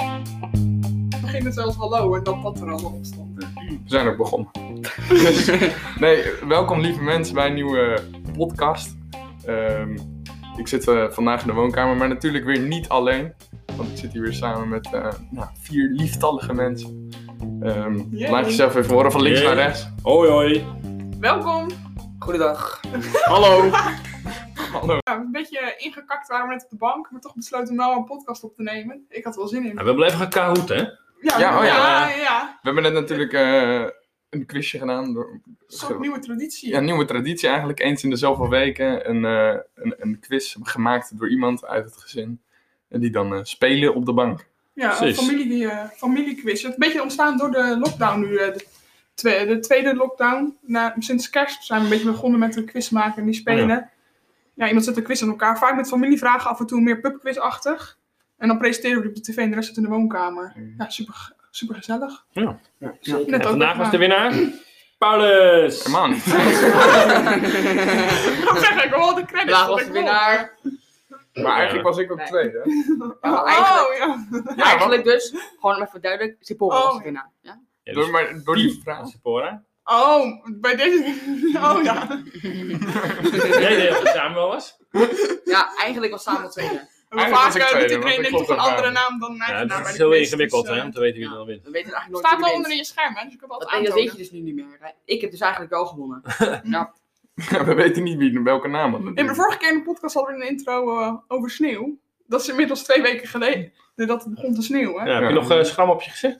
Toen ging het zelfs hallo en dat dat er allemaal op stond. We zijn ook begonnen. nee, welkom lieve mensen bij een nieuwe podcast. Ehm, ik zit eh, vandaag in de woonkamer, maar natuurlijk weer niet alleen. Want ik zit hier weer samen met eh, nou, vier lieftallige mensen. Ehm, Yay. Laat jezelf even horen van links Yay. naar rechts. Hoi hoi. Welkom! Goedendag. Hallo. Hallo. Ja, Nou, een beetje ingekakt waren we net op de bank, maar toch besloten om wel een podcast op te nemen. Ik had er wel zin in. Nou, we blijven gaan kahoot, hè? Ja, oh ja. ja, ja. We hebben net natuurlijk eh, een quizje gedaan. door- Een soort nieuwe traditie. Ja, een nieuwe traditie eigenlijk. Eens in de zoveel weken een, eh, een, een quiz gemaakt door iemand uit het gezin. En die dan eh, spelen op de bank. Ja, een Precies. familie, die, eh, familiequiz. Het is een beetje ontstaan door de lockdown nu. eh, de, twe- de tweede lockdown. Na, sinds kerst zijn we een beetje begonnen met een quiz maken en die Oh spelen. ja. iemand zet een quiz aan elkaar. Vaak met familievragen, af en toe meer pubquizachtig. En dan presenteren we die op de tv en de rest zit in de woonkamer. Mm. Ja, super, super gezellig. Zeker. Net En ook vandaag was nog maar. de winnaar Paulus. Helemaal niet. Ik ga zeggen, Oh, ik hoor de credits. Vandaag want was ik de wil. winnaar. Maar eigenlijk was ik ook Nee. tweede. Ja, Oh, eigenlijk, ja. Ja, eigenlijk dus, gewoon om even duidelijk, Sipora Oh, was de ja. winnaar. Ja? Ja, Door, dus maar, door die vraag. Sephora. Oh, bij deze. Oh ja. Jij deed dat het samen wel was. ja, eigenlijk was Samuel tweede. Maar was vaak ik eh, doet tweede, want iedereen ik denk klopt toch een ook andere aan. naam dan een eigen Ja, naam. dat bij is de heel quiz, ingewikkeld, dus, hè, eh, om te weten wie Ja. er dan wint. We weten eigenlijk nooit staat wie wel er onder in wint. je scherm, hè? Dus ik heb altijd Dat, dat weet je dus nu niet meer. Hè? Ik heb dus eigenlijk wel gewonnen. We weten niet wie, welke naam het In de vorige keer in de podcast hadden we een intro eh, over sneeuw. Dat is inmiddels twee weken geleden dat het begon te sneeuwen. Ja, heb je Ja. nog eh, schram op je gezicht?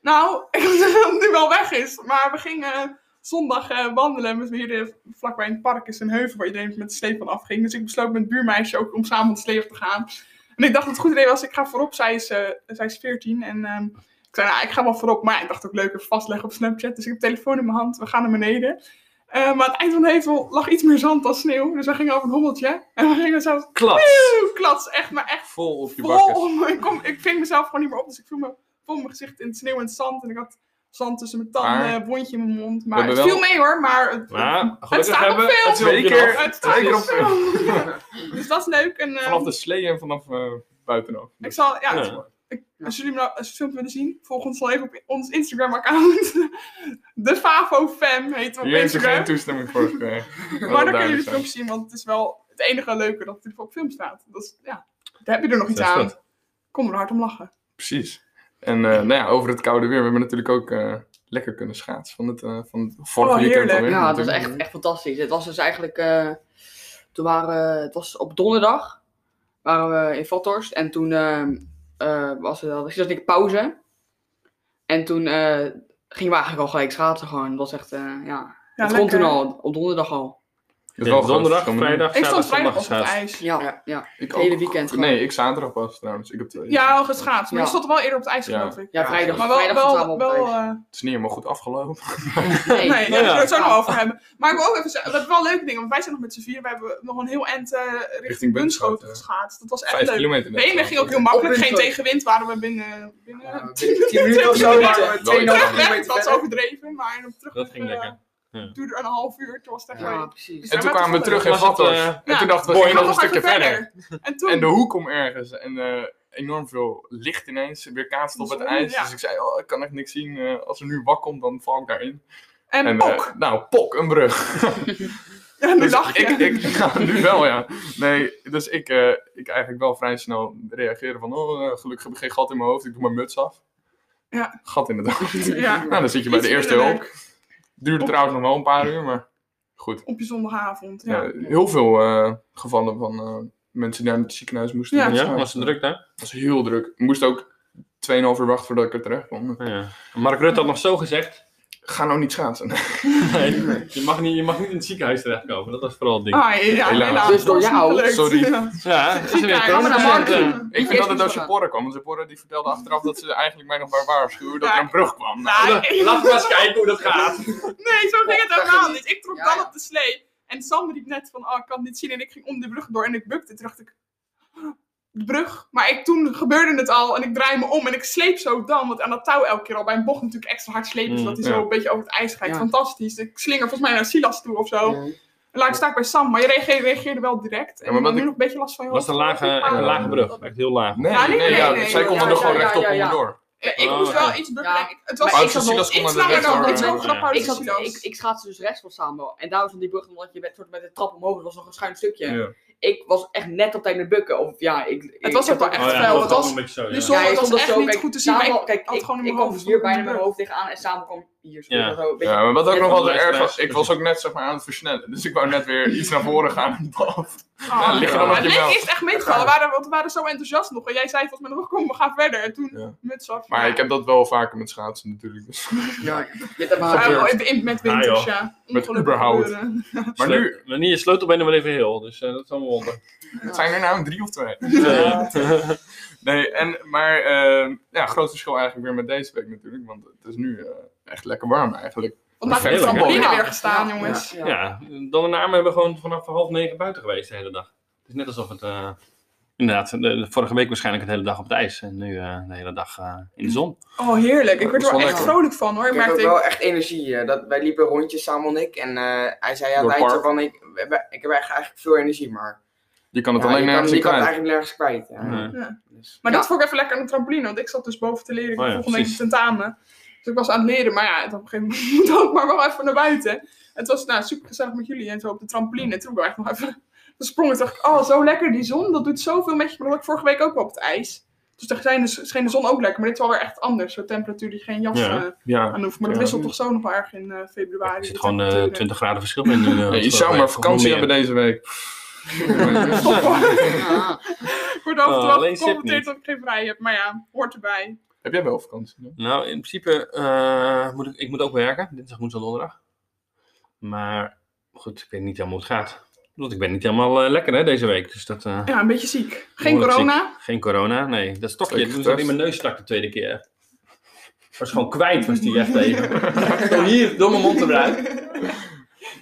Nou, ik weet dat het nu wel weg is. Maar we gingen zondag eh, wandelen. En we hier eh, vlakbij een park is een heuvel waar iedereen met de slee van afging. Dus ik besloot met het buurmeisje ook om samen het slee op te gaan. En ik dacht dat het goed idee was, ik ga voorop. Zij is, eh, zij is 14 en ehm, ik zei, nou, ik ga wel voorop. Maar ja, ik dacht ook leuk even vastleggen op Snapchat. Dus ik heb telefoon in mijn hand, we gaan naar beneden. Eh, maar aan het eind van de heuvel lag iets meer zand dan sneeuw. Dus we gingen over een hommeltje. En we gingen zo Klats. Oeh, klats, echt, maar echt Vol op je bakkes. vol. Ik, kom, ik ving mezelf gewoon niet meer op, dus ik voel, me, voel mijn gezicht in het sneeuw en het zand. En ik had zand tussen mijn tanden, Maar- een wondje in mijn mond. We Maar het hebben viel wel- mee hoor, maar het, Maar het gelukkig staat op hebben we film. het Twee filmpje keer. nog. Het staat Zeker op op- film. Ja. Dus dat is leuk. En, eh, Vanaf de slee en vanaf eh, buitenaf. ik zal, ja, Ja. als jullie hem nou als filmpje willen zien, volg ons dan even op ons Instagram-account. De Favo Fam heet we op Hier heeft ze Instagram. geen toestemming voor gekregen. Dat Maar dan dus duidelijk kunnen jullie het zijn. filmpje zien, want het is wel het enige leuke dat het natuurlijk op film staat. Dus ja, daar heb je er nog iets Dat is aan. goed. Kom er hard om lachen. Precies. En eh, nou ja, over het koude weer. We hebben natuurlijk ook eh, lekker kunnen schaatsen van het eh, van het vorige Oh, weekend heerlijk. alweer. Ja, het was natuurlijk. echt, echt fantastisch. Het was dus eigenlijk, eh, toen waren, het was op donderdag, waren we in Vathorst. En toen eh, eh, was er was een pauze. En toen eh, gingen we eigenlijk al gelijk schaatsen gewoon. Het was echt, eh, ja, Ja, het kon lekker. toen al, op donderdag al. Het is wel groot Donderdag, verschil. vrijdag, Ik stond zaterdag, vrijdag zondag op het geschaatst. ijs. Ja, ja. Ik het hele ook- weekend gewoon. Nee, ik zaterdag pas trouwens. Ik heb twee. Ja, al geschaatst. Maar Ja. je stond wel eerder op het ijs, Ja. geloof ik. Ja, vrijdag. Maar wel, vrijdag staan we wel, op wel het eh, Het is niet helemaal goed afgelopen. Nee, nee, daar ja. zullen we het zo nog over hebben. Maar ik wil ook even zeggen, we hebben wel leuke dingen. Want wij zijn nog met z'n vier. We hebben nog een heel eind eh, richting Richting Bunschoten Bunschoten. geschaatst. Dat was echt Vijf leuk. kilometer. net. De ene ging ook heel makkelijk. Op Geen Bunschoten. tegenwind waren we binnen... binnen Ja, binnen 10 minuten of zo. Terug- waren terug- we 2,5 terugweg, kilometer dat was verder. overdreven. Maar op terug Dat ging eh, lekker. duurde een half uur. Toen was het echt Ja, leuk. precies. Dus En toen wij waren kwamen we toch terug wel in Was het, Vathorst. eh, En Ja. toen dachten we, Boy, we gaan leuk. nog een stukje even verder. En toen... En de hoek om ergens. En eh, enorm veel licht ineens. Weer kaatst op het Zon, ijs. ja. Dus ik zei, oh, ik kan echt niks zien. Eh, als er nu wak komt, dan val ik daarin. En, eh, pok. nou, pok, een brug. Ja, nu Dus lach je. ik, ik, ja, nu wel, ja. Nee, dus ik, eh, ik eigenlijk wel vrij snel reageren van... Oh, eh, gelukkig heb ik geen gat in mijn hoofd. Ik doe mijn muts af. Ja. Gat in het hoofd. Ja. Nou, dan zit je bij de Iets eerste minder hulp. Duurde trouwens nog wel een paar uur, maar goed. Op je zondagavond. Ja. Ja, heel veel eh, gevallen van eh, mensen die naar het ziekenhuis moesten. Ja. Dat Ja, was het druk daar? was heel druk. Ik moest ook 2,5 uur wachten voordat ik er terecht kwam. Dus Ja. Mark Rutte had nog zo gezegd. Ga nou niet schaatsen. Nee, je, mag niet, je mag niet in het ziekenhuis terechtkomen. Dat was vooral het ding. Ah, ja, Helaas. helaas. Dus door Dat is niet jou. gelukt. Sorry. Ja. Ja, is er weer Gaan we naar corona. Mark? Ja. ik vind dat het door Eerst Sephora kwam. Want Sephora die vertelde achteraf dat ze eigenlijk mij nog maar waarschuwde dat Ja. er een brug kwam. Nou, Nou, Laten ik- we maar eens kijken hoe dat gaat. Nee, zo ging het Dat helemaal ging niet. Ik trok Ja, dan ja. op de slee. En Sam riep net van, oh, ik kan het niet zien. En ik ging om de brug door en ik bukte. Toen dacht ik, de brug. Maar ik, toen gebeurde het al en ik draai me om en ik sleep zo dan. Want aan dat touw elke keer al bij een bocht natuurlijk extra hard slepen. Mm, zodat hij ja. zo een beetje over het ijs gaat. Ja. Fantastisch. Ik slinger volgens mij naar Silas toe of zo. Ja. En Laat ik sta ik bij Sam, maar je reageerde, reageerde wel direct. En maar ik ben wat nu ik- nog een beetje last van je was een lage, echt een lage brug. Echt heel laag. Nou, Nee, Ja, nee, nee, nee, ja, nee, zij nee, konden ja, er gewoon ja, rechtop ja, ja. onderdoor. Ik, ik Oh, moest wel oké. iets Ja, bubbelen. ik- het was maar iets, ik zat nog- iets ik zat langer dan nog- iets ja. hoger dan Ik, zat, ik, Parisilo's. ik schaatste dus rechts van Samuel. En daar was dan die brug, omdat je werd soort met de trap omhoog. Dat was nog een schuin stukje. Ja. Ik was echt net op tijd met bukken. Of, ja, ik, Het was ook wel echt Oh ja, fel, dat het was was- een beetje zo. dus ja. zo- het was stond echt niet goed te zien, maar Samuel, ik kijk, had ik, gewoon in ik mijn kwam hoofd hier stond bijna met een mijn brug. hoofd tegenaan. En Samen kwam hier. zo- Ja. zo, een beetje- Ja, maar wat ook Net nog op wel de erg was, rechtsback. ik was ook net zeg maar aan het versnellen. Dus ik wou net weer iets naar voren gaan en dat. Ah, Ja, ligt er dan op je maar het leek melk. eerst echt meegevallen, we waren, want we waren zo enthousiast nog. En jij zei volgens mij nog, kom, we gaan verder. En toen, Ja. muts af. Maar ik heb dat wel vaker met schaatsen natuurlijk. Dus. Ja, met de Ja, maar. in- in- met winters, Ja, ja. Met Ongelukken überhaupt. gebeuren. Maar Sleu- nu, Wanneer je sleutelbenen wel even heel. Dus eh, dat is wel een wonder. zijn er nou drie of twee? Ja. Nee, en, maar eh, ja, groot verschil eigenlijk weer met deze week natuurlijk. Want het is nu eh, echt lekker warm eigenlijk. Want daar heeft Heerlijk, Sam hè? binnen Ja. weer gestaan, jongens. Ja. Ja, dan en Amen hebben we gewoon vanaf half negen buiten geweest de hele dag. Het is net alsof het... eh, Inderdaad, de, de vorige week waarschijnlijk de hele dag op het ijs en nu eh, de hele dag eh, in de zon. Oh, heerlijk. Ik Dat werd er is wel wel echt lekker. vrolijk van, hoor. Ik Ik heb ook merkte, ik- wel echt energie. eh, Dat, wij liepen rondjes samen en ik. En eh, hij zei aan Door het het eind zo park. van, ik, we hebben- ik heb echt- eigenlijk veel energie, maar... Je kan het ja, alleen je kan- nergens je in kan het kwijt. eigenlijk nergens kwijt. ja. Nee. Dus- maar dat Ja. vond ik even lekker aan de trampoline, want ik zat dus boven te leren. Ik Oh ja, had volgende week precies. tentamen. Dus ik was aan het leren, maar ja, het op een gegeven moment moet ook maar wel even naar buiten. Het was nou, super gezellig met jullie en zo op de trampoline. En toen ben ik echt nog even gesprongen. Toen dacht ik, oh, zo lekker die zon, dat doet zoveel met je. Maar dat had ik vorige week ook wel op het ijs. Dus daar zijn de- scheen de zon ook lekker, maar dit is wel weer echt anders. Zo'n temperatuur die geen jas Ja. eh, Ja. aan hoeft. Maar dat Ja. wisselt toch zo nog wel erg in eh, februari. Er zit de gewoon eh, temperaturen. 20 graden verschil in. nu, eh, Ja, je vorige zou maar week. vakantie Of nog hebben deze week. Top, hoor. Ja. Ik word af en toe Oh, alleen Sip geconfronteerd niet. dat ik geen vrij heb. Maar ja, hoort erbij. Heb jij wel vakantie? hè? meer. Nou, in principe eh, moet ik, ik moet ook werken. Dinsdag, woensdag, donderdag. Maar goed, ik weet niet helemaal hoe het gaat. Want ik ben niet helemaal eh, lekker hè, deze week. Dus dat, eh, Ja, een beetje ziek. Geen Behoorlijk corona. geen corona. Nee, dat stokje. Zeker Toen zat in getest. mijn neus stak de tweede keer. Was gewoon kwijt, was die echt even. Zo hier, door mijn mond eruit.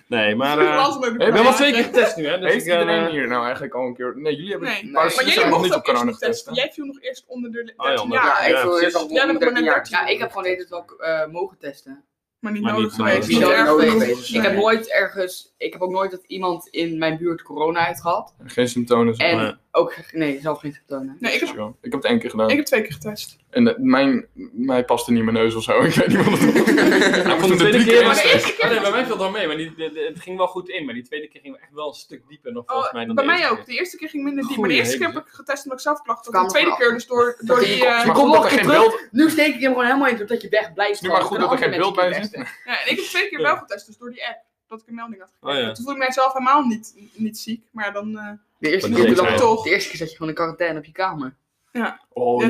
Nee, maar... eh, Hey, ik ben maar wel ja, twee keer getest nu, hè. Dus Heeft ik, eh, iedereen hier nou eigenlijk al een keer... Nee, jullie hebben Nee, nee. Maar maar Maar ze jullie jullie zijn nog mochten niet op ook eerst corona niet getest. testen. hè? Jij viel nog eerst onder de le- Oh ja, 13 onder- jaar. Ja, ik Ja, voel precies. eerst nog Jij bent nog maar net 13. ik heb gewoon de hele tijd ook eh, mogen testen. Maar niet Maar nodig niet, eh, geweest. niet Niet nodig erg geweest. geweest. Nee. Ik heb nooit ergens, ik heb ook nooit dat iemand in mijn buurt corona heeft gehad. Geen symptomen. zeg En maar. Nee. ook, nee, zelf niet getoond. Nee, ik heb, Ja. Ik heb het één keer gedaan. ik heb twee keer getest. En eh, mijn, mij paste niet mijn neus of zo. Ik weet niet wat het Nou, Ik van de moest tweede drie keer keer was Maar de eerste keer Ah, nee, bij mij viel het wel mee, maar die, de- de- het ging wel goed in. Maar die tweede keer ging we echt wel een stuk dieper nog volgens Oh, mij dan bij de mij eerste ook. De eerste keer ging minder diep. Goeie Maar de eerste keer hemel, heb ik getest omdat ik zelf klachten had. Kwam De tweede er keer dus door, door die die... kop- eh, Kom Maar goed dat er nog geen terug. beeld... Nu steek ik hem gewoon helemaal in totdat je weg blijft. Nu maar vallen. goed Dan dat er kunnen geen andere beeld mensen je ja, en ik heb twee keer Ja. wel getest. Dus door die app. Dat ik een melding had gekregen. Oh, ja. Toen voelde ik mijzelf helemaal niet, niet ziek. Maar dan... eh, testen. De eerste Van keer die dan zekerheid. toch. De eerste keer zat je gewoon in quarantaine op je kamer. Oh ja,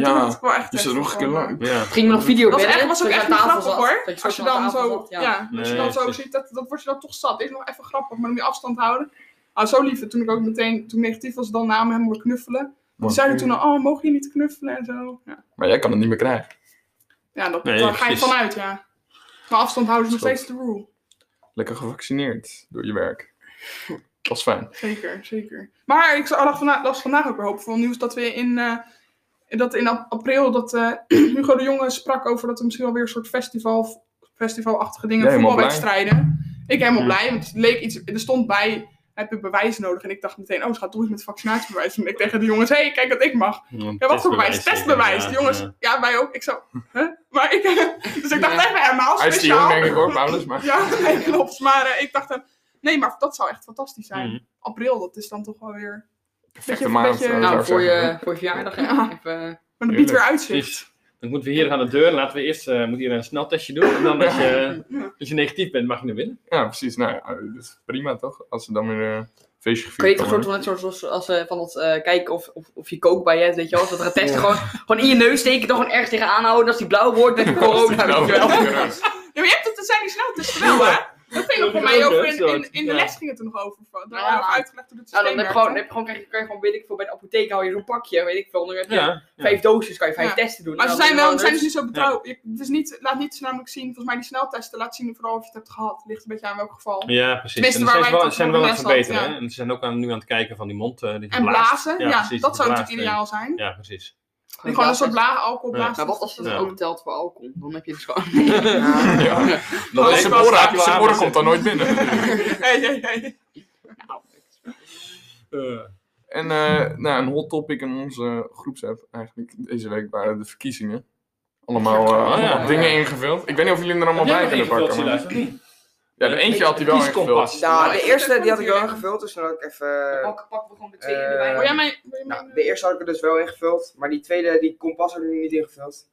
toen had ja. ik wel echt eh, Is test dat nog een keer gevonden. lang? Ja. Het ging me nog video Dat was bellen, echt, was ook dat je aan echt niet tafel grappig zat, hoor. dat Als je zo aan dan tafel zo, zat, ja. ja. Oh, als je dan Nee, zo precies. ziet, dat, dat wordt je dan toch zat. Is nog even grappig, maar dan moet je afstand houden. Ah, zo lief. Toen ik ook meteen, toen ik negatief was, dan namen hem we knuffelen. Die Man. zeiden toen al, oh, mogen jullie niet knuffelen en zo. Ja, Maar jij kan het niet meer krijgen. ja dat, Nee, daar ga je precies. vanuit, ja. Maar afstand houden is nog Zo. steeds de rule. Lekker gevaccineerd door je werk. Dat is fijn. Zeker, zeker. Maar ik zag vandaag, las vandaag ook weer hoopvol nieuws dat we in, eh, dat in ap- april, dat eh, Hugo de Jonge sprak over dat er misschien wel weer een soort festival, festivalachtige dingen, Ja, helemaal voetbalwedstrijden. Ik helemaal Ja. blij, want het leek iets, er stond bij, heb je bewijs nodig? En ik dacht meteen, oh, ze gaat doen iets met vaccinatiebewijs. En ik tegen de jongens, hé, hey, kijk wat ik mag. Ja, wat voor bewijs? Testbewijs, jongens. Ja. wij ook. Ik zo, huh? Maar ik, dus ik dacht Ja. even helemaal Hij is te speciaal. jong, denk ik hoor, Paulus. Maar... Ja, nee, klopt. Maar eh, ik dacht, eh, nee, maar dat zou echt fantastisch zijn. Mhm. April, dat is dan toch wel weer... Perfecte Beetje- maand. beetje- eh, zou Nou, ik voor zeggen. je, voor je verjaardag. hè. Ja. Even- eh, Maar dat biedt weer Heerlijk. uitzicht. Dan moeten we hier aan de deur. Laten we eerst eh, moet hier een sneltestje doen. En dan als je, eh, Ja. als je negatief bent, mag je naar binnen. Ja, precies. Nou, ja, dat is prima toch? Als ze dan weer eh, een feestje Kun je gevierd toch kan soort worden. van net zoals als, als, eh, van dat eh, kijken of, of, of je kook bij je hebt, weet je wel. Als dat gaat testen, gewoon, gewoon in je neus steken, dan gewoon ergens tegenaan houden. En als die blauw wordt, dan heb je corona, Oh, weet je wel. Ja, Ja, maar je hebt het, er zijn die sneltesten wel, hè? Dat ging nog voor Ja, mij over. dat In, in, in de soort, les ging het er nog over. Daar Ja. waren we over uitgelegd hoe het Nou, dan systeem heb je werkt, gewoon, dan hè? heb je gewoon, krijg je, kan je gewoon, weet ik veel, bij de apotheek hou je zo'n pakje, weet ik veel. Dan heb je Ja. vijf doosjes, kan je vijf Ja. testen doen. Maar En ze dan zijn doe je wel, ze gewoon zijn dus een niet zo betrouw. je- Het is niet, laat niet namelijk zien, volgens mij die sneltesten, laat zien vooral of je het hebt gehad. Ligt een beetje aan welk geval. Ja, precies. Tenminste, En ze waar zijn wij wel, het ze zijn over wel aan het les hadden, verbeteren. ja. Hè? En ze zijn ook aan, nu aan het kijken van die mond eh, die je En blaast. blazen, ja, Ja, precies, dat zou blaast, natuurlijk ideaal zijn. Ja, precies. Die Gewoon een soort blaas. lage alcohol Ja. blaast. Maar wat als je dat Ja. ook telt voor alcohol? Dan heb je dus gewoon... Ja. Ja. Dan Dat denk is ik, een dan staat hij oren, wel aan, zijn maar oren ze- komt dan nooit binnen. Hey, hey, hey. Nou, En eh, nou, een hot topic in onze groepsapp eigenlijk deze week waren de verkiezingen. Allemaal eh, ja, allemaal ja. dingen ingevuld. Ik weet niet of jullie er allemaal bij kunnen pakken. maar- Ja, de eentje had hij wel ingevuld. Kieskompas. Nou, ik de vind eerste het die had ik wel natuurlijk. ingevuld, dus dan had ik even... Pakken, pakken we gewoon de tweede tweede erbij. wil jij mij... wil je mij- Nou, de eerste had ik er dus wel ingevuld, maar die tweede, die kompas had ik nu niet ingevuld.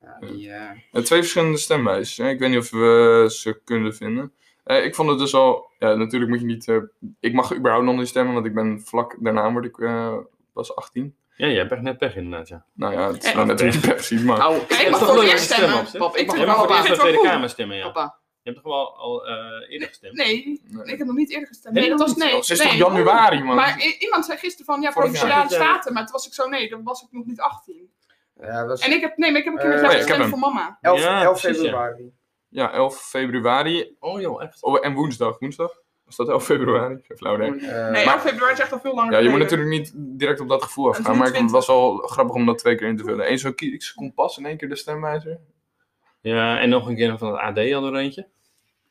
Ja, die, eh, Eh, twee verschillende stemwijzers. hè. Ik weet niet of we ze kunnen vinden. Eh, ik vond het dus al... Ja, natuurlijk moet je niet... eh, ik mag überhaupt nog niet stemmen, want ik ben vlak daarna word ik eh, pas 18. Ja, jij hebt echt net pech inderdaad, ja. Nou ja, het is Eh, nou natuurlijk niet precies, maar... Au. Kijk, Ik mag mag voor toch het leuk eerst stemmen, stemmen. Pap, Pap, ik mag Jij mag wel voor het eerst naar de Papa. Ik vind Tweede het wel Kamer stemmen, ja. Papa. Je hebt toch wel al eh, eerder gestemd? Nee, Nee. ik heb nog niet eerder gestemd. Nee, Nee, dat Nou, was nee. Oh, het is nee. toch januari, man? Maar i- iemand zei gisteren van, ja, Vorig jaar. Provinciale Staten. Maar toen was ik zo, nee, dan was ik nog niet 18. ja, dat was En ik heb, nee, maar ik heb een keer Eh, met oh jou ja, ik heb gestemd hem. voor mama. 11, Ja, 11 precies, ja. februari. Ja, 11 februari. Oh joh, echt. Oh, en woensdag. Woensdag? Was dat 11 februari? Geen Flauw idee. Eh, Nee, maar- 11 februari is echt al veel langer Ja, je moet geleden. natuurlijk niet direct op dat gevoel afgaan, maar het 23. was wel grappig om dat twee keer in te vullen. Eén zo'n kies kompas in één keer de stemwijzer. Ja, en nog een keer van het AD hadden we er eentje.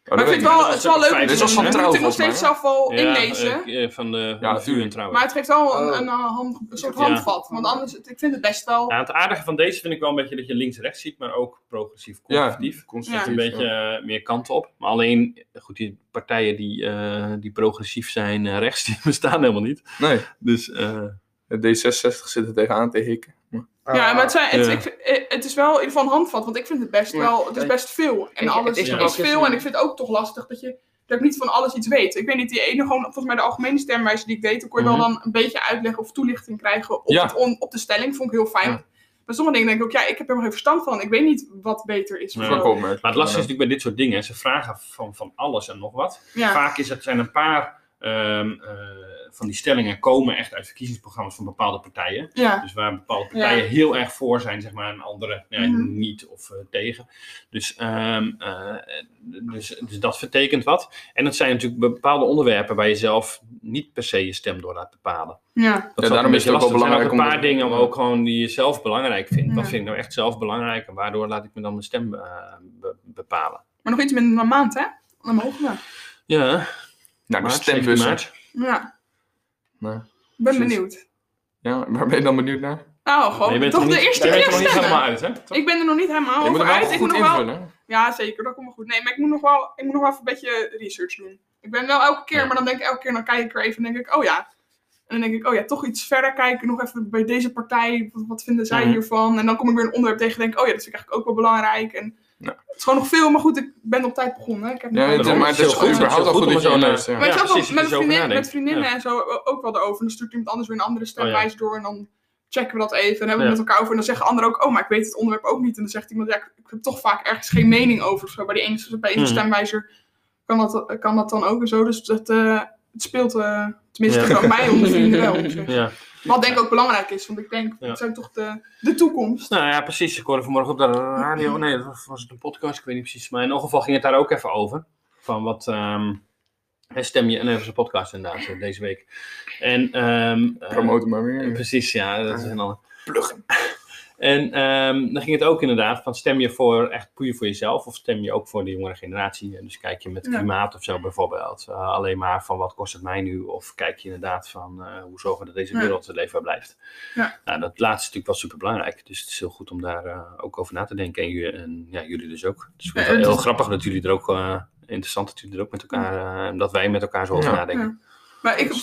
Oh, Maar dat ik vind weet het ik wel, het is wel leuk. om Dit te is wel doen. van Je trouw, moet het nog volgens steeds zelf wel Ja, inlezen. eh, eh, van de, van Ja, de vuur en tuurlijk. trouw. Oh, Maar het geeft wel een, Oh. een, eh, hand- een soort Ja. handvat. Want anders, het- ik vind het best wel... Ja, het aardige van deze vind ik wel een beetje dat je links-rechts ziet, maar ook progressief Ja, conservatief. conservatief, Een beetje eh, meer kant op. Maar alleen, goed, die partijen die, eh, die progressief zijn eh, rechts, die bestaan helemaal niet. Nee, Dus eh, het D66 zit er tegenaan te hikken. ah, Ja, maar het, zijn, het, Ah, Ja. ik vind- eh, het is wel in ieder geval een handvat, want ik vind het best Ja. wel, het is Ja. best veel. En Ja, alles het is, is nog wel veel en ik vind het ook toch lastig dat je dat ik niet van alles iets weet. Ik weet niet, die ene gewoon, volgens mij de algemene stemwijze die ik deed, dan kon je wel Mhm. dan een beetje uitleggen of toelichting krijgen op, Ja. het on- op de stelling, vond ik heel fijn. Ja. Maar sommige dingen denk ik ook, ja, ik heb er helemaal geen verstand van, ik weet niet wat beter is. of Ja. zo. Vlak opmerking. Maar het lastige is natuurlijk bij dit soort dingen, ze vragen van, van alles en nog wat. Ja. Vaak is het, zijn een paar ehm, eh, van die stellingen komen echt uit verkiezingsprogramma's van bepaalde partijen. ja. Dus waar bepaalde partijen heel erg voor zijn, zeg maar, en andere ja, Mhm. niet of eh, tegen. Dus, ehm, eh, dus, dus dat vertekent wat. En het zijn natuurlijk bepaalde onderwerpen waar je zelf niet per se je stem door laat bepalen. ja. Dat Ja, daarom een is het ook wel beetje lastig. Er zijn belangrijk een paar dingen om- om ook gewoon die je zelf belangrijk vindt. Wat Ja. vind ik nou echt zelf belangrijk en waardoor laat ik me dan mijn stem eh, be- bepalen? Maar nog iets minder dan een maand, hè? Dan mogen we. Ja, Nou, de maart, 17 stembussen. maart. Ja, Nou, ik ben Precies. benieuwd. ja, waar ben je dan benieuwd naar? Nou, gewoon, Maar je bent toch er de niet, eerste je bent er keer nog niet stemmen. helemaal uit, hè? Toch? Ik ben er nog niet helemaal je moet over hem wel uit. goed Ik moet nog wel invullen. hè? Ja, zeker. Dat komt wel goed. Nee, maar ik moet nog wel, ik moet nog wel even een beetje research doen. Ik ben wel elke keer, Ja. maar dan denk ik elke keer, dan kijk ik er even en denk ik, oh ja. En dan denk ik, oh ja, toch iets verder kijken, nog even bij deze partij, wat, wat vinden zij Mhm. hiervan? En dan kom ik weer een onderwerp tegen en denk ik, oh ja, dat vind ik eigenlijk ook wel belangrijk. En Ja. Het is gewoon nog veel, maar goed, ik ben op tijd begonnen. Ik heb nog Ja, wel- het is- maar het Heel is goed, goed, überhaupt heel al goed goed om dat je zo'n, aan eh, luistert. maar ja. Ja, ik zat wel precies, met, dus over vriendin, nadenken. met vriendinnen en zo eh, ook wel erover. En dan stuurt iemand anders weer een andere stemwijze door. En dan checken we dat even. En hebben we het Oh, Ja. met elkaar over. En dan zeggen anderen ook, oh, maar ik weet het onderwerp ook niet. En dan zegt iemand, ja, ik, ik heb toch vaak ergens geen mening over. of Zo. Bij die ene, bij de ene Mhm. stemwijzer kan dat, kan dat dan ook en zo. Dus dat, eh, het speelt eh, tenminste Ja. bij mij onder vrienden wel. op zich. Ja. Wat denk ik ook belangrijk is. Want ik denk, Ja. het zijn toch de, de toekomst. Nou ja, precies. Ik hoorde vanmorgen op de radio, nee, dat was het een podcast, ik weet niet precies. Maar in ieder geval ging het daar ook even over. Van wat ehm, hè, stem je, en even een podcast inderdaad, eh, deze week. En, ehm, eh, Promoten maar Mm. Ja, weer. Precies, ja, dat is Ah, een ander. En ehm, dan ging het ook inderdaad van stem je voor echt puur voor jezelf of stem je ook voor de jongere generatie? En Dus kijk je met Ja. klimaat of zo bijvoorbeeld eh, alleen maar van wat kost het mij nu? Of kijk je inderdaad van eh, hoe zorgen we dat deze Ja. wereld leefbaar blijft? Ja. Nou, dat laatste is natuurlijk wel super belangrijk. Dus het is heel goed om daar eh, ook over na te denken. En, ju- en ja, jullie dus ook. Dus ik vind Ja, het het heel is- grappig dat jullie er ook, eh, interessant dat jullie er ook met elkaar, eh, dat wij met elkaar zo over Ja. nadenken. Maar ik,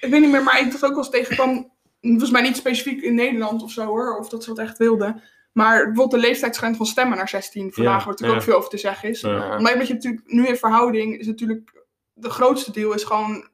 ik weet niet meer, maar ik dat ook wel eens tegenkwam. Volgens mij niet specifiek in Nederland of zo hoor, of dat ze dat echt wilden. Maar bijvoorbeeld de leeftijdsgrens van stemmen naar 16 vandaag, Ja, wordt er natuurlijk ja. ook veel over te zeggen is. Ja. Ja. Maar omdat je natuurlijk nu in verhouding is natuurlijk, de grootste deel is gewoon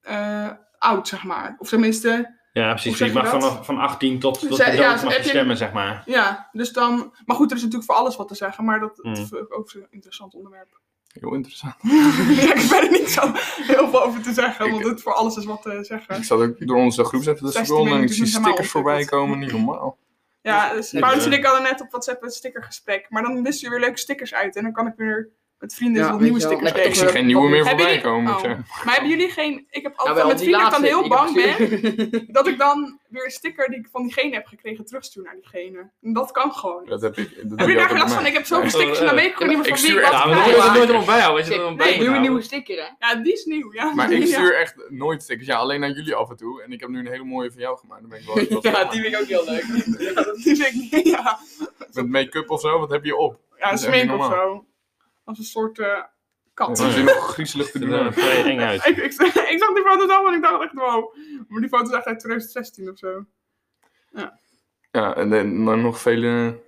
eh, oud, zeg maar. Of tenminste, Ja, Hoe precies. zeg Je je mag dat? vanaf van 18 tot, tot Ze- de dood ja, ze- mag je heb je- stemmen, zeg maar. ja, dus dan... Maar goed, er is natuurlijk voor alles wat te zeggen, maar dat Hmm. dat vind ik ook een interessant onderwerp. Heel interessant. ja, ik ben er niet zo heel veel over te zeggen, Ik- want het voor alles is wat te zeggen. Ik zat ook door onze groep zetten te 16 scrollen en ik minuten zie is helemaal stickers voorbij ontwikkeld. komen. Niet normaal. Ja, dus Ja. Paulus en ik hadden net op WhatsApp een stickergesprek. Maar dan wisten we weer leuke stickers uit. En dan kan ik weer Met vrienden is Ja, wat weet nieuwe je wel. stickers Ik zie geven. geen nieuwe meer eh, Heb voorbij je- komen, moet ik Oh. zeggen. Maar hebben jullie geen... Ik heb altijd Nou, wel, met die vrienden dan laatste, heel ik bang heb- ben dat ik dan weer een sticker die ik van diegene heb gekregen terugstuur naar diegene. En dat kan gewoon. Dat heb ik. Dat Heb je ik daar ook gelast bij van? mij. Ik heb zoveel Nee. stickers in Eh, de week, ik weet niet meer ik van wie stuur ik echt wat Ja, maar nooit dan moet je krijg. er nooit allemaal bijhouden. Als je Shit, er dan nee, bij nu een houdt. nieuwe sticker, hè? Ja, die is nieuw, ja. Maar ik Ja. stuur echt nooit stickers. Ja, alleen naar jullie af en toe. En ik heb nu een hele mooie van jou gemaakt. Dan ben ik wel trots op. vind ik ook heel leuk. Ja, dat vind ik niet, ja. Met make-up of zo, wat heb je op? Ja, een is echt smink niet of zo. Als een soort eh, kat. Ze zien nog griezelig te Het ziet doen. er uit. vrij eng uit. Ik, ik, ik zag die foto's allemaal en ik dacht echt wow. Maar die foto's echt uit 2016 of zo. Ja, en dan dan nog vele,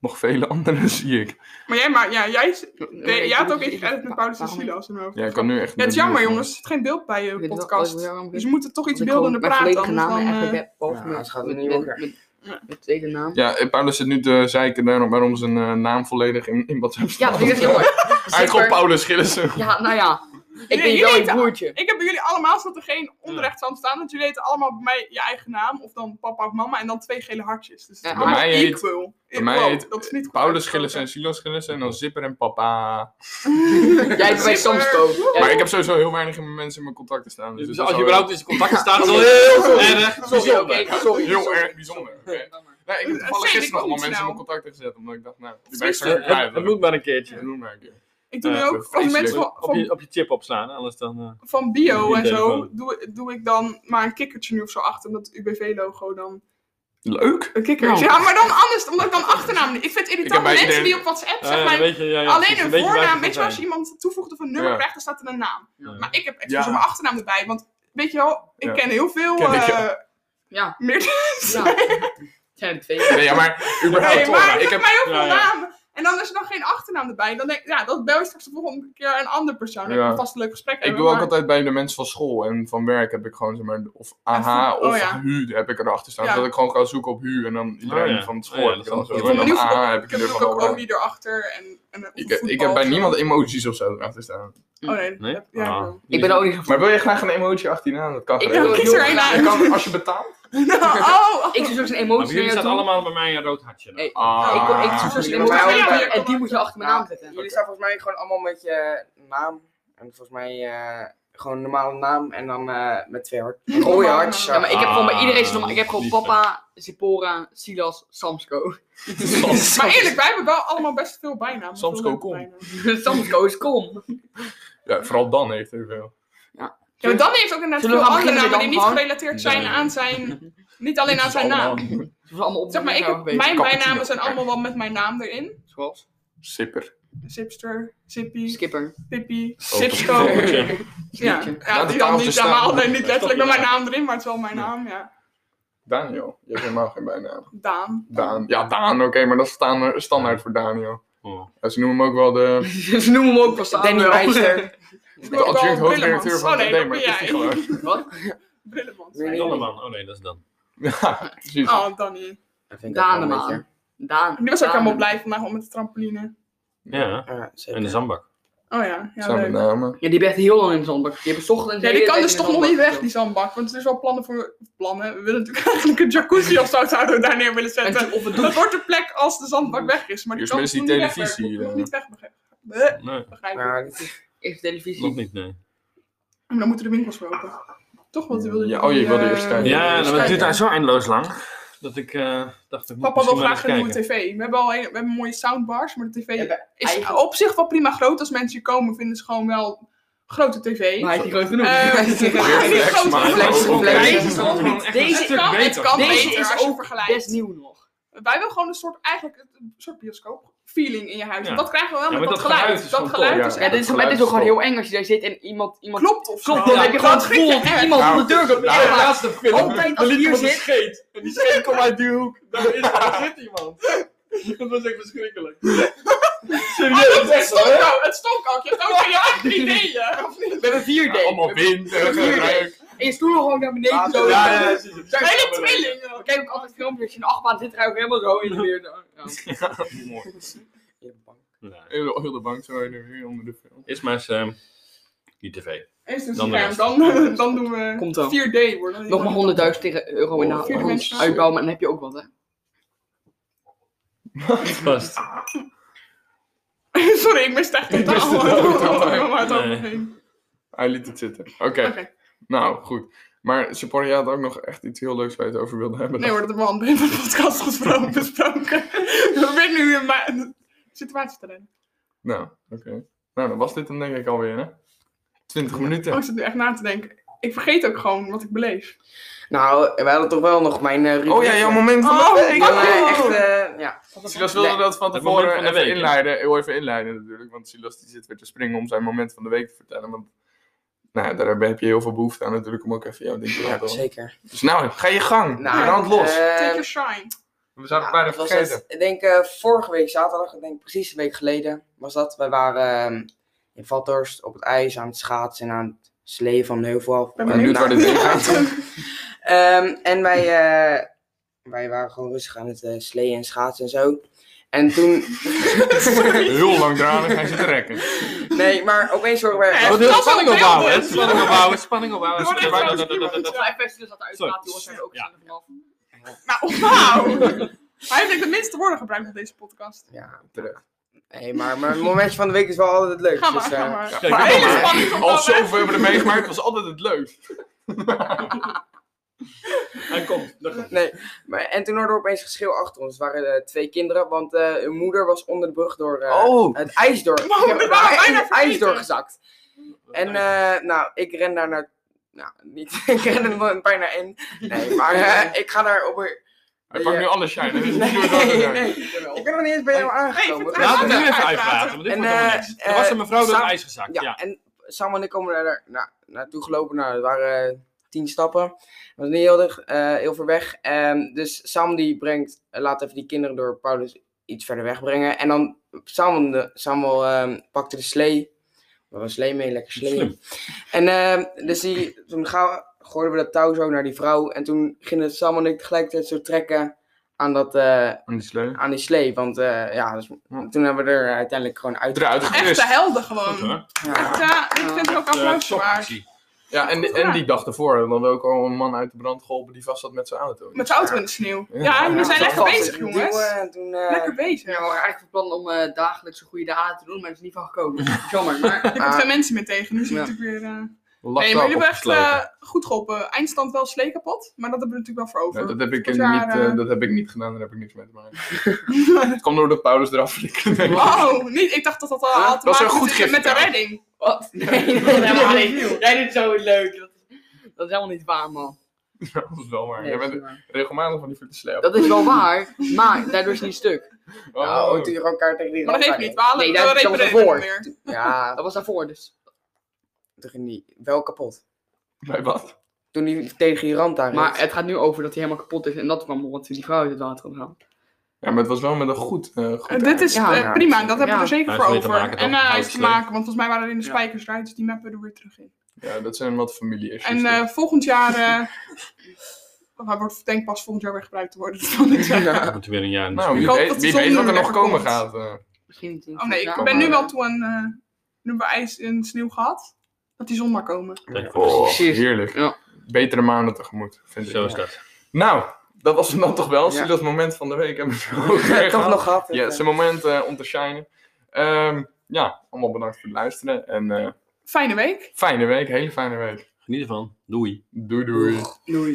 nog vele andere zie ik. Maar jij, maar, ja, jij, Nee, jij had ik- ook ik- iets geëdit met wa- Paulus en waarom- Silas in mijn hoofd. Ja, ik kan nu echt... Ja, het is jammer jongens, er Ik zit geen beeld bij je Ik weet wel- podcast. ik weet wel- Dus we moeten toch Want iets ik gewoon beeldender mijn praten. volledige Anders naam dan, eigenlijk eh, heb, behalve Ja, mijn- het gaat met, niet met, worden. met, met tweede naam. Ja, eh, Paulus zit nu te zeiken daarom waarom zijn eh, naam volledig in, in WhatsApp Ja, staat. dat vind ik echt heel mooi. Hij heet gewoon Paulus Gillissen. Ja, nou ja. Ik jullie ben wel weten- een broertje. ik heb bij jullie allemaal dat er geen onrecht zal staan. Want jullie heten allemaal bij mij je eigen naam. Of dan papa of mama. En dan twee gele hartjes. Dus het is Ja, allemaal bij mij heet- equal. bij mij Wow, heet dat is niet goed Paulus uitgesproken. Gillissen en Silas Gillissen en dan Zipper en Papa. Jij bent bij Zipper. Samsco. Maar ik heb sowieso heel weinig mensen in mijn contacten staan. Dus, Dus dat als is je wel überhaupt in contact staat, is al heel erg Sorry, bijzonder. oké, sorry. heel erg bijzonder. oké? Nee, ik heb Dat toevallig weet ik gisteren ook allemaal niet mensen in snel. mijn contacten gezet, omdat ik dacht, nou, die ben ik Precies. straks weer kwijt. Het moet maar een Ja, keertje. doe maar een keer. Ik doe nu eh, Ja, ook van mensen van, Op van, je, op je chip opslaan, anders dan... eh, van bio je en zo. telefoon. Doe, doe ik dan maar een kikkertje nu of zo achter. Omdat UBV-logo dan. Leuk! Een kikkertje. Nou. Ja, maar dan anders. Omdat ik dan achternaam niet. Ik vind het heb irritant. bij Mensen iedereen- die op WhatsApp ah, zeg ja, maar. dan weet je, ja, ja, Alleen precies, een dan weet je waar voornaam. je Weet je, van als je iemand toevoegt of een nummer Ja. krijgt, dan staat er een naam. bent. Maar ik heb excuus Ja. mijn achternaam erbij. Want weet je wel, ik Ja. ken heel veel Ken ik, eh, ja. Ja. meerdere- Ja. Het zijn er twee. Nee, ja, maar überhaupt Nee, toch, maar maar ik ik heb... heb mij heel veel ja, ja. namen. En dan is er dan geen achternaam erbij. Dan denk ik, ja, dat bel je straks de volgende keer een ander persoon. Dan Ja. heb je vast een leuk gesprek. Ik hebben, doe ook maar- altijd bij de mensen van school en van werk heb ik gewoon, zeg maar, of AH oh, of ja. HU heb ik erachter staan. Ja. Dat ik gewoon kan zoeken op HU en dan iedereen Oh, ja. van het Oh, school ja, heb ik dat dan is zo. wel Ik goed. En dan vond nu voetbal- AH heb ik ik er heb van ook over. Omi erachter. En, en Ik, ik heb bij niemand emoties of zo erachter staan. Oh nee. Mm. Nee? Ja, Ah. wel. Ik ben ook niet Maar wil je graag een emotie 18 aan? Dat kan Ik geregeld. wil- kies er één uit. Dat kan als je betaalt. Nou, oh, oh. Ik zoek zo'n Maar emotie jullie naar jou staan toe. allemaal bij mij een rood hartje. dan. Nee, Ah. ik, ik zoek zo'n Ja, emotie maar- naar jou toe Ja, en die moet je achter mijn Ja. naam zetten. Jullie staan volgens mij gewoon allemaal met je naam. En volgens mij eh, gewoon een normale naam en dan eh, met twee hart. Een rode hartjes. Ja, maar ik heb gewoon bij Ah, iedereen zijn naam. Ik heb gewoon liefde. papa, Zippora, Silas, Samsco. Maar eerlijk, wij hebben wel allemaal best veel bijnamen. Soms Veel leuke ook om. bijnamen. Samsco is kom. Ja, vooral dan heeft hij veel. Ja, maar dan heeft ook Zullen we inderdaad veel gaan andere beginnen met namen die niet Jan Frank? gerelateerd zijn Nee. aan zijn... Niet alleen aan zijn naam. Ze zijn allemaal op Zeg maar, ik heb, mijn bijnamen zijn allemaal wel met mijn naam erin. Zoals? Sipper. Zipster, Zippy, Skipper. Pippi, Oh, Zipsko. ja. Ja, Snitje. ja Nou, die de dan tafel niet, staat. ja, maar alleen niet Ja, letterlijk met toch, mijn ja. naam erin, maar het is wel mijn naam, ja. Daniel. Je hebt helemaal geen bijnaam. Daan. Daan. Ja, Daan. Oké, maar dat is staan- standaard voor Daniel. Oh. Ja, ze noemen hem ook wel de, Ze noemen hem ook pas Danny Meister. Ik de ook wel adjunct hoofdredacteur Brillemans. van het Oh nee, AD, maar dat dat is hij ben jij. gewoon. Wat? Brillemans. Nee. Danneman. Oh nee, dat is dan. Ja, precies. Oh, Danny. Dat vind ik ook wel een beetje. Danemaan. Daan. Die was ook Daan- helemaal blij vandaag om met de trampoline. Ja, Ja, en zeker. de zandbak. Oh ja, ja Zijn met leuk. namen. Ja, die bent heel lang in de zandbak. Die hebben ochtend Ja, die kan dus toch nog niet weg, die zandbak. Want er is wel plannen voor... Plannen? We willen natuurlijk eigenlijk een jacuzzi of zo zouden we daar neer willen zetten. Of het doet. Dat wordt de plek als de zandbak weg is. Maar die Eerst kan mensen nog die niet televisie, weg, eh. Nog niet weg, begrijp- eh, Nee, begrijp ik. Ja, dat is- Eerst televisie. nog niet, nee. Maar dan moeten de winkels weer open. Toch? Want die wilden Ja, oh, je wilde eh, eerst kijken. Ja, eerst maar het duurt kijken. daar zo eindeloos lang. Dat ik eh, dacht, ik moet Papa wil misschien maar graag eens een nieuwe kijken. tv. We hebben al een, we hebben mooie soundbars, maar de tv Ja, bij- is eigenlijk- op zich wel prima groot. Als mensen hier komen, vinden ze gewoon wel grote tv. Maar hij is niet groot genoeg. Eh, Hij is niet groot maar genoeg. die flex, grote maar- flex- Oh, oké. flex- Deze is gewoon- flex- deze Het kan, het kan Deze beter is als je ook Best vergelijkt. nieuw nog. Wij willen gewoon een soort, eigenlijk een soort bioscoop feeling in je huis. Ja. En Dat krijgen we wel Ja, met maar dat dat geluid geluid. is Dat gewoon geluid top, is ja. Ja, echt dit is, dat maar dit is ook gewoon geluid heel eng als je daar zit en iemand... iemand klopt of zo. Klopt, dan Ja, heb je dat gewoon het vind je gevoel dat echt. iemand Nou, onder de deur komt. nou, Ja, laatste film. Altijd als De ik lied hier van de zit- scheet. En die scheet komt uit die hoek. Daar, is, daar zit iemand. Dat was echt verschrikkelijk. Serieus, Oh, Het echt stonk hoor. ook, het stonk ook. Je hebt ook in je eigen ideeën. of We niet? hebben 4D. Ja, allemaal wind en geruik. En je stoelen gewoon naar beneden. zo. Ja, ja, ja, precies. Zijn jullie tweelingen? We kijken ook altijd filmpjes in de achtbaan zit er ook helemaal zo in de weer. Ja. Mooi. Nou, Heel heel de bank zo heen en weer onder de film. Is maar eens ehm, die tv. Eerst een Dan de scherm, rest. dan, dan doen we Komt wel. 4D. Worden. Nog maar 100.000 euro in de Oh, vier hand mensen. uitbouwen, maar dan heb je ook wat, hè? Vast. Sorry, ik mist echt Ik totaal miste het ook totaal. waar het over Nee. ging. Hij liet het zitten. Oké, Oké. nou goed. Maar Seporia had ook nog echt iets heel leuks waar je het over wilde hebben. Nee hoor, dat hebben we al in de podcast gesproken, besproken. We zijn nu in mijn situatie te redden. Nou, oké. Nou, dan was dit hem denk ik alweer, hè? 20 minuten. Oh, ik zit nu echt na te denken. Ik vergeet ook gewoon wat ik beleef. Nou, we hadden toch wel nog mijn eh Oh ja, jouw moment van Oh, de week. ik Ik wil had- eh, echt, eh, ja. Silas wilde Nee. dat van Het moment tevoren van even de week, hè? inleiden. Heel even inleiden natuurlijk. Want Silas die zit weer te springen om zijn moment van de week te vertellen. Want nou, ja, daar heb je heel veel behoefte aan natuurlijk. Om ook even jouw ding te laten Ja, horen. zeker. Dus nou, ga je gang. Nou, Nou, hand los. eh, Take your shine. we zouden Ja, het bijna dat was vergeten. het. ik denk eh, vorige week zaterdag, ik denk precies een week geleden, was dat. Wij waren ehm, in Vathorst op het ijs aan het schaatsen en aan het sleeën van de heuvel af. Ben Eh, benieuwd waar nou, dit heen gaat. Ehm, en wij, eh, wij waren gewoon rustig aan het eh, sleeën en schaatsen en zo. En toen... Heel langdradig. Hij zit te rekken. nee, maar opeens hoorden Echt? we... Oh, dit- dat spanning was opbouwen, Ah, hè? beeld, hè? Spanning opbouwen, spanning Er wordt echt opbouwen. wel gestuurd. Als wij festivals dat Sorry. uitpraten, jongens, zijn we ook Ja. ja. vanaf. Nou, wauw. Hij heeft de minste woorden gebruikt op deze podcast. Ja, Terecht. nee, maar mijn momentje van de week is wel altijd leuk. Ga maar, dus, eh, ga maar. Kijk, maar hele maar. spanning van Al zoveel hebben we er meegemaakt. was altijd het leuk. Hij komt. daar komt. Nee, maar, en toen hoorden we opeens geschreeuw achter ons. Het waren eh, twee kinderen, want eh, hun moeder was onder de brug door eh, Oh. het ijs door. Wow, dat waren Ja, we echt bijna het ijs vergeten. doorgezakt. En eh, nou, ik ren daar naar. Nou, niet. ik ren er wel bijna in. Nee, maar eh, ik ga daar op een. Hij pakt nu alles shine. hè? Dus Nee, doe het ook weer. nee. Ik ben nog niet eens bij jou aangekomen. vertel. Laat het nu Ja, even uitpraten. uitpraten, want dit En, wordt helemaal eh, niks. Er was een mevrouw door het samen- ijs gezakt, Ja, ja. en Sam en ik komen daar nou, naartoe gelopen. Nou, dat waren eh, tien stappen. Dat was niet heel, dicht, eh, heel ver weg. Ehm, dus Sam die brengt, eh, laat even die kinderen door Paulus iets verder wegbrengen. En dan Samuel, de- Samuel ehm, pakte de slee. We hadden een slee mee, lekker Slim. slee. En ehm, dus die, toen gaan, gooiden we dat touw zo naar die vrouw. En toen gingen Sam en ik tegelijkertijd zo trekken aan, dat, eh, Aan die sleu. aan die slee. Want eh, ja, dus, toen hebben we er uiteindelijk gewoon uit. Eruit Echt gerust. de helden Goed, gewoon. hoor. Ja. Echt, ja, ik vind het ook Eh, applaus waard. Shockactie. Ja, en, en die dag ervoor hadden we ook al een man uit de brand geholpen die vast zat met zijn auto. Dus Met zijn auto in de sneeuw. Ja. Ja, we Ja, dat zijn lekker was bezig, jongens. En toen, eh, Lekker bezig. Ja, we waren eigenlijk van plan om eh, dagelijks een goede daad te doen, maar er is niet van gekomen. Jammer, maar... Ik heb twee mensen meer tegen, nu zit Ja. ik weer... eh, Lak Nee, wel maar jullie hebben echt opgesloten. eh, goed geholpen. Eindstand wel slee kapot, maar dat hebben we natuurlijk wel voor over. Ja, dat, heb ik Goed eh, niet, jaar, eh, eh. dat heb ik niet gedaan, daar heb ik niks mee te maken. het kwam door dat Paulus eraf flikkerde. denk ik. Oh, niet, ik dacht dat dat al Huh? had te Dat is maken wel goed met- met de gift, redding. Wat? Oh, Nee, dat is helemaal niet. Jij doet zo leuk. Dat is, dat is helemaal niet waar, man. dat is wel waar. Nee, Jij dat is niet bent waar. regelmatig van die fitte sleep. Dat is wel waar, maar daardoor is het niet stuk. Oh, Ja, Nou, oh, toen je gewoon kaart tegen die Maar dat geeft rand niet, we aan halen Nee, we daar heb ik dan repareren voor. het meer. deed. Ja, Dat was daarvoor dus. toen ging die wel kapot. Bij wat? Toen die tegen die rand aan Maar het gaat nu over dat hij helemaal kapot is en dat kwam omdat die vrouw uit het water omgaan. Ja, maar het was wel met een goed... eh, goed Eh, Dit is Ja, eh, ja. prima, dat hebben we Ja. er zeker Hij voor is weer te over. maken, dan. en eh, hij is Hout te slee. maken, want volgens mij waren er in de Ja. spijkers eruit, dus die mappen er weer terug in. Ja, dat zijn wat familie-issues. En eh, volgend jaar... eh hij wordt denk pas volgend jaar weer gebruikt te worden. dat wil ik zeggen. Dat moet weer een jaar. in de nou, sneeuw. wie ik hoop weet, dat wie de zon weet wat nu er nog weer komen komt. gaat. eh. Misschien niet. Oh nee, ik Ja, ben maar- nu wel toe aan... eh, nu hebben we ijs en sneeuw gehad. Dat die zon maar komen. Kijk, Oh, Precies. heerlijk. Ja. Betere maanden tegemoet, vind Zo ik. is dat. Nou, dat was hem dan toch wel. Ja. Silas moment van de week hebben we ook weer toch gehad. nog gehad. Ja, zijn moment eh, om te shinen. Ehm, ja, allemaal bedankt voor het luisteren. En eh, Fijne week. fijne week, hele fijne week. Geniet ervan. Doei. Doei doei. Doei.